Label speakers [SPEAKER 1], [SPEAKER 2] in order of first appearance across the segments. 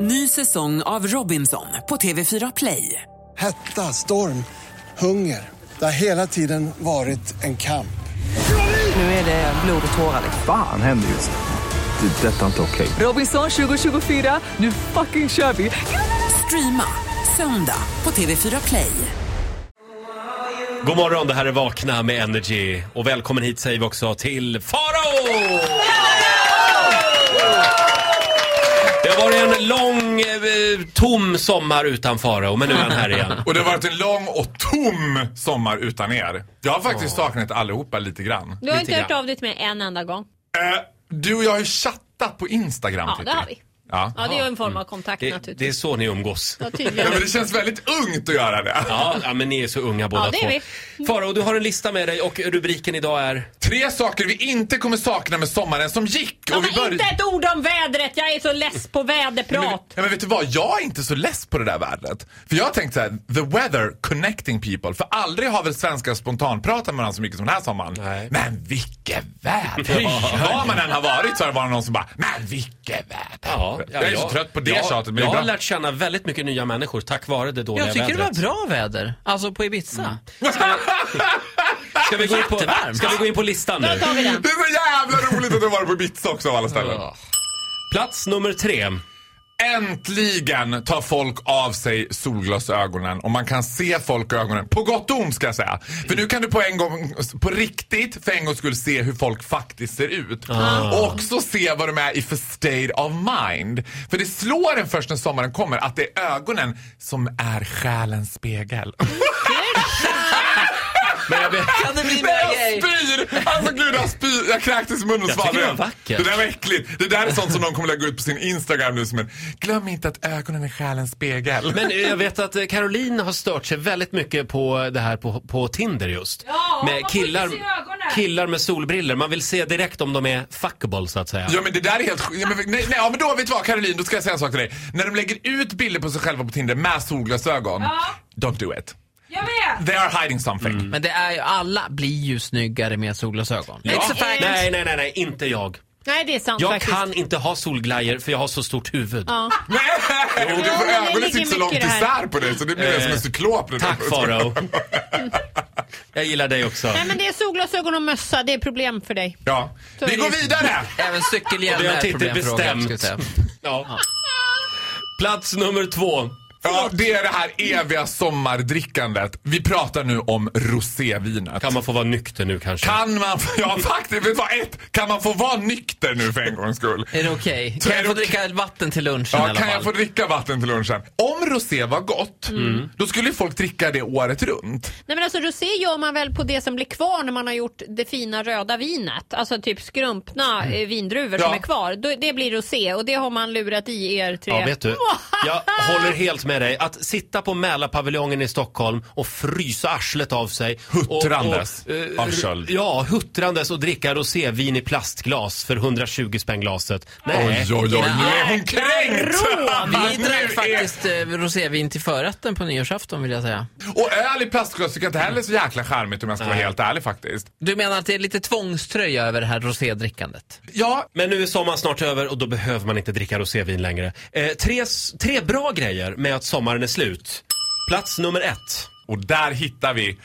[SPEAKER 1] Ny säsong av Robinson på TV4 Play.
[SPEAKER 2] Hetta, storm, hunger. Det har hela tiden varit en kamp.
[SPEAKER 1] Nu är det blod och tårar.
[SPEAKER 3] Fan händer just nu. Det. är Detta är inte okej.
[SPEAKER 1] Robinson 2024, nu fucking kör vi! Streama söndag på TV4 Play.
[SPEAKER 4] God morgon, det här är Vakna med Energy. Och välkommen hit säger vi också till Farao! Det har varit en lång, eh, tom sommar utan Farao, men nu är han här igen.
[SPEAKER 5] Och det har varit en lång och tom sommar utan er. Jag har faktiskt saknat allihopa lite grann.
[SPEAKER 6] Du har inte
[SPEAKER 4] grann.
[SPEAKER 6] hört av dig till mig en enda gång.
[SPEAKER 5] Eh, du och jag har ju chattat på Instagram.
[SPEAKER 6] Ja,
[SPEAKER 5] Titti.
[SPEAKER 6] det har vi.
[SPEAKER 5] Ja.
[SPEAKER 6] Ja, det är ju en form av kontakt
[SPEAKER 4] Mm. Det, det är
[SPEAKER 6] naturligtvis.
[SPEAKER 4] så ni umgås.
[SPEAKER 6] Ja,
[SPEAKER 5] Ja,
[SPEAKER 6] tydligen.
[SPEAKER 5] men det känns väldigt ungt att göra det.
[SPEAKER 4] Ja, ja, men ni är så unga båda
[SPEAKER 6] Ja, det är
[SPEAKER 4] två. Farao, du har en lista med dig och rubriken idag är...
[SPEAKER 5] Tre saker vi inte kommer sakna med sommaren som gick.
[SPEAKER 6] Ja,
[SPEAKER 5] vi
[SPEAKER 6] men
[SPEAKER 5] börj-
[SPEAKER 6] inte ett ord om vädret! Jag är så less på
[SPEAKER 5] Men,
[SPEAKER 6] väderprat.
[SPEAKER 5] ja, men vet du vad, jag är inte så less på det där vädret. För jag har tänkt så här, the weather connecting people. För aldrig har väl svenskar spontanpratat med varandra så mycket som den här sommaren.
[SPEAKER 4] Nej.
[SPEAKER 5] Men vilket väder! Var man än har varit så har det varit någon som bara, men vilket väder! jag är så trött på det
[SPEAKER 4] jag,
[SPEAKER 5] tjatet. Men
[SPEAKER 4] Jag har
[SPEAKER 5] ibland...
[SPEAKER 4] lärt känna väldigt mycket nya människor tack vare det dåliga
[SPEAKER 7] Jag tycker
[SPEAKER 4] vädret. Mm.
[SPEAKER 7] det var bra väder. Alltså på Ibiza.
[SPEAKER 4] Ska vi gå in på,
[SPEAKER 7] Jättevarmt.
[SPEAKER 4] ska vi gå in på listan nu?
[SPEAKER 6] Då tar vi den.
[SPEAKER 5] Det är så jävla roligt att du har varit på Ibiza också av alla ställen.
[SPEAKER 4] Plats nummer tre.
[SPEAKER 5] Äntligen tar folk av sig solglasögonen och man kan se folk i ögonen. På gott och ont ska jag säga. För nu kan du på en gång, på riktigt, för en gång skulle se hur folk faktiskt ser ut.
[SPEAKER 7] Ah.
[SPEAKER 5] Och också se vad de är i för state of mind. För det slår en först när sommaren kommer att det är ögonen som är själens spegel.
[SPEAKER 4] Men jag,
[SPEAKER 7] Kan det
[SPEAKER 5] Men
[SPEAKER 7] bli mer
[SPEAKER 5] jag
[SPEAKER 7] grej?
[SPEAKER 5] spyr! Alltså gud jag spyr. Jag kräktes i munnen och
[SPEAKER 4] Jag tycker det var
[SPEAKER 5] svalde
[SPEAKER 4] vackert.
[SPEAKER 5] Det där var äckligt. Det där är sånt som någon kommer lägga ut på sin Instagram nu som en Glöm inte att ögonen är själens spegel.
[SPEAKER 4] Men jag vet att eh, Caroline har stört sig väldigt mycket på det här på, på Tinder just.
[SPEAKER 6] Ja, man
[SPEAKER 4] med
[SPEAKER 6] får
[SPEAKER 4] killar,
[SPEAKER 6] inte se ögonen.
[SPEAKER 4] killar med solbriller. Man vill se direkt om de är fuckable så att säga.
[SPEAKER 5] Ja men det där är helt sjukt. Ja, men, nej, nej, ja, men då vet du vad Caroline, då ska jag säga en sak till dig. När de lägger ut bilder på sig själva på Tinder med solglasögon, don't do it.
[SPEAKER 6] Jag vet!
[SPEAKER 5] They are hiding something.
[SPEAKER 4] Mm.
[SPEAKER 7] Men det är ju, alla blir ju snyggare med solglasögon.
[SPEAKER 6] It's a fact.
[SPEAKER 4] Nej, nej, nej, nej, inte jag.
[SPEAKER 6] Nej, det är sant
[SPEAKER 4] Jag
[SPEAKER 6] faktiskt.
[SPEAKER 4] kan inte ha solglajjor för jag har så stort huvud.
[SPEAKER 6] Ja.
[SPEAKER 5] Nej! Du får
[SPEAKER 6] det ligger
[SPEAKER 5] ögonen sitter så
[SPEAKER 6] mycket
[SPEAKER 5] långt
[SPEAKER 6] i det här.
[SPEAKER 5] isär på dig så det blir som en cyklop. när du-
[SPEAKER 4] Eh, Tack Farao. Jag gillar dig också.
[SPEAKER 6] Nej, men det är solglasögon och mössa. Det är problem för dig.
[SPEAKER 5] Ja.
[SPEAKER 6] Så
[SPEAKER 5] Vi
[SPEAKER 6] är det
[SPEAKER 5] går
[SPEAKER 6] ju.
[SPEAKER 5] vidare!
[SPEAKER 7] Även cykelhjälm
[SPEAKER 4] Det har
[SPEAKER 7] är ett
[SPEAKER 4] Titti
[SPEAKER 7] problemfråga. ska jag
[SPEAKER 4] bestämt.
[SPEAKER 7] säga.
[SPEAKER 4] Ja. Plats nummer två.
[SPEAKER 5] Ja, det är det här eviga sommardrickandet. Vi pratar nu om rosévinet.
[SPEAKER 4] Kan man få vara nykter nu kanske?
[SPEAKER 5] Kan man, ja faktiskt, vet du vad? Ett, kan man få vara nykter nu för en gångs skull?
[SPEAKER 7] Är det okej?
[SPEAKER 5] Så
[SPEAKER 7] Kan
[SPEAKER 5] är
[SPEAKER 7] jag
[SPEAKER 5] det
[SPEAKER 7] få
[SPEAKER 5] okej?
[SPEAKER 7] dricka vatten till lunchen i
[SPEAKER 5] Ja,
[SPEAKER 7] alla
[SPEAKER 5] kan
[SPEAKER 7] fall? Mm.
[SPEAKER 5] jag få dricka vatten till lunchen? Om rosé var gott, mm. då skulle ju folk dricka det året runt.
[SPEAKER 6] Nej, men alltså, rosé gör man väl på det som blir kvar när man har gjort det fina röda vinet. Alltså typ skrumpna
[SPEAKER 4] Mm.
[SPEAKER 6] eh, vindruvor som
[SPEAKER 5] Ja.
[SPEAKER 6] är kvar. Då- Det blir rosé och det har man lurat i er tre.
[SPEAKER 4] Ja, vet du. Jag håller helt med dig. Att sitta på Mälarpaviljongen i Stockholm och frysa arslet av sig.
[SPEAKER 5] Huttrandes
[SPEAKER 4] Och- och, eh,
[SPEAKER 5] av köld.
[SPEAKER 4] Ja, huttrandes och dricka rosévin i plastglas för 120 spänn glaset. Nej.
[SPEAKER 5] Oj, oj, oj, nu är hon
[SPEAKER 7] Nej.
[SPEAKER 5] kränkt!
[SPEAKER 7] Vi
[SPEAKER 5] Nu
[SPEAKER 7] drack
[SPEAKER 5] är-
[SPEAKER 7] faktiskt eh, rosévin till förrätten på nyårsafton vill jag säga.
[SPEAKER 5] Och öl i plastglas tycker jag inte heller är så jäkla charmigt om jag ska vara helt ärlig faktiskt.
[SPEAKER 7] Du menar att det är lite tvångströja över det här rosédrickandet?
[SPEAKER 5] Ja,
[SPEAKER 4] Men nu är sommaren snart över och då behöver man inte dricka rosévin längre. Eh, tre, s- tre bra grejer med att sommaren är slut. Plats nummer ett.
[SPEAKER 5] Och där hittar vi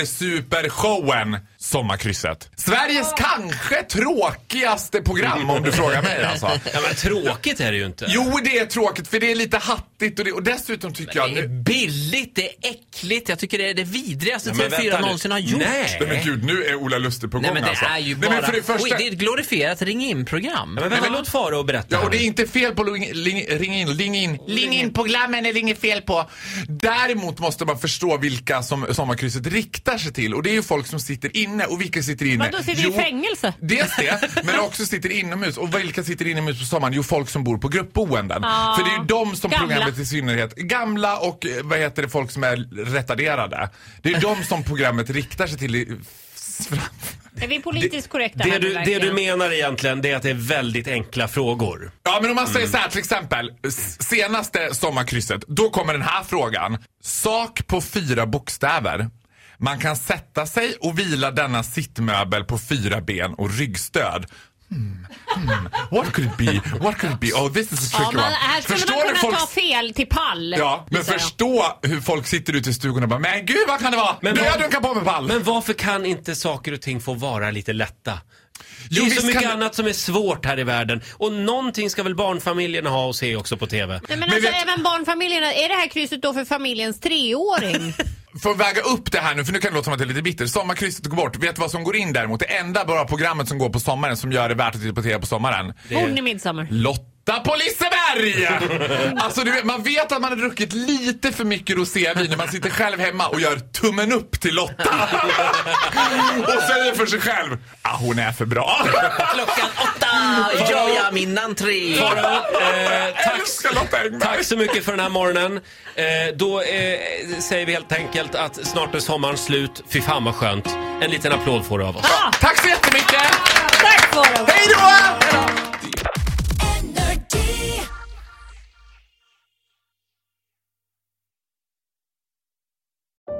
[SPEAKER 5] Dundersupershowen Sommarkrysset. Sveriges kanske tråkigaste program om du frågar mig alltså.
[SPEAKER 4] Ja, men tråkigt är det ju inte.
[SPEAKER 5] Jo, det är tråkigt för det är lite hattigt och, det, och dessutom tycker jag...
[SPEAKER 7] Det är
[SPEAKER 5] Nu,
[SPEAKER 7] billigt, det är äckligt, jag tycker det är det vidrigaste
[SPEAKER 4] Ja, men vänta
[SPEAKER 7] TV4
[SPEAKER 4] nu.
[SPEAKER 7] någonsin har gjort.
[SPEAKER 4] Nej.
[SPEAKER 5] nej men gud, nu är Ola Lustig på gång
[SPEAKER 7] Nej men det
[SPEAKER 5] alltså.
[SPEAKER 7] är ju
[SPEAKER 5] Nej,
[SPEAKER 7] bara...
[SPEAKER 5] men för det första...
[SPEAKER 7] Oj, det är ett glorifierat ring-in-program.
[SPEAKER 4] Ja, men vänta, låt Farao berätta.
[SPEAKER 5] Ja, och det
[SPEAKER 4] här nu.
[SPEAKER 5] är inte fel på ling, ling, ring in, ling in. Ling in på glammen är det inget fel på. Däremot måste man förstå vilka som sommarkrysset riktar sig till. Och det är ju folk som sitter inne. Och vilka sitter inne?
[SPEAKER 6] Vadå, sitter i fängelse?
[SPEAKER 5] Dels det, men också sitter inomhus. Och vilka sitter inomhus på sommaren? Jo, folk som bor på gruppboenden.
[SPEAKER 6] Ja.
[SPEAKER 5] För det är ju de som
[SPEAKER 6] Gamla.
[SPEAKER 5] programmet i synnerhet... Gamla och eh, vad heter det, folk som är retarderade. Det är de som programmet riktar sig till. i-
[SPEAKER 6] Är vi politiskt korrekta
[SPEAKER 4] Det
[SPEAKER 6] här nu
[SPEAKER 4] du, det
[SPEAKER 6] verkligen?
[SPEAKER 4] du menar egentligen det är att det är väldigt enkla frågor.
[SPEAKER 5] Ja, men om man
[SPEAKER 4] Mm.
[SPEAKER 5] säger så här till exempel. s- Senaste sommarkrysset, då kommer den här frågan. Sak på fyra bokstäver. Man kan sätta sig och vila denna sittmöbel på fyra ben och ryggstöd. Hmm, What could it be? What could it be? Oh, this is a
[SPEAKER 6] Ja,
[SPEAKER 5] tricky
[SPEAKER 6] men
[SPEAKER 5] one.
[SPEAKER 6] här skulle
[SPEAKER 5] Förstår
[SPEAKER 6] man
[SPEAKER 5] du
[SPEAKER 6] kunna
[SPEAKER 5] folks-
[SPEAKER 6] ta fel till pall.
[SPEAKER 5] Ja, men
[SPEAKER 6] gissar jag.
[SPEAKER 5] förstå hur folk sitter ute i stugan och bara Men gud vad kan det vara?
[SPEAKER 4] Men
[SPEAKER 5] nu har
[SPEAKER 4] vad-
[SPEAKER 5] jag dunkat på med pall.
[SPEAKER 4] Men varför kan inte saker och ting få vara lite lätta? Det
[SPEAKER 5] Jo,
[SPEAKER 4] är ju
[SPEAKER 5] visst
[SPEAKER 4] så mycket
[SPEAKER 5] kan-
[SPEAKER 4] annat som är svårt här i världen. Och någonting ska väl barnfamiljerna ha och se också på TV.
[SPEAKER 6] Nej, men,
[SPEAKER 5] Men
[SPEAKER 6] alltså
[SPEAKER 5] vet-
[SPEAKER 6] även barnfamiljerna, är det här krysset då för familjens treåring?
[SPEAKER 5] För att väga upp det här nu, för nu kan det låta som att jag är lite bitter. Sommarkrysset går bort. Vet du vad som går in däremot? Det enda bra programmet som går på sommaren som gör det värt att titta på TV på sommaren.
[SPEAKER 6] Hon i midsommar.
[SPEAKER 5] Lotta på Liseberg! Alltså du vet, man vet att man har druckit lite för mycket rosévin när man sitter själv hemma och gör tummen upp till Lotta. Och säger för sig själv, ah hon är för bra.
[SPEAKER 7] Klockan åtta gör jag min entré.
[SPEAKER 4] Farao, eh, tack,
[SPEAKER 5] Älskar Lotta Engberg.
[SPEAKER 4] tack så mycket för den här morgonen. Eh, då eh, säger vi helt enkelt att snart är sommaren slut. Fy fan vad skönt. En liten applåd får du av oss.
[SPEAKER 5] Tack så jättemycket!
[SPEAKER 6] Tack för det.
[SPEAKER 5] Hej då!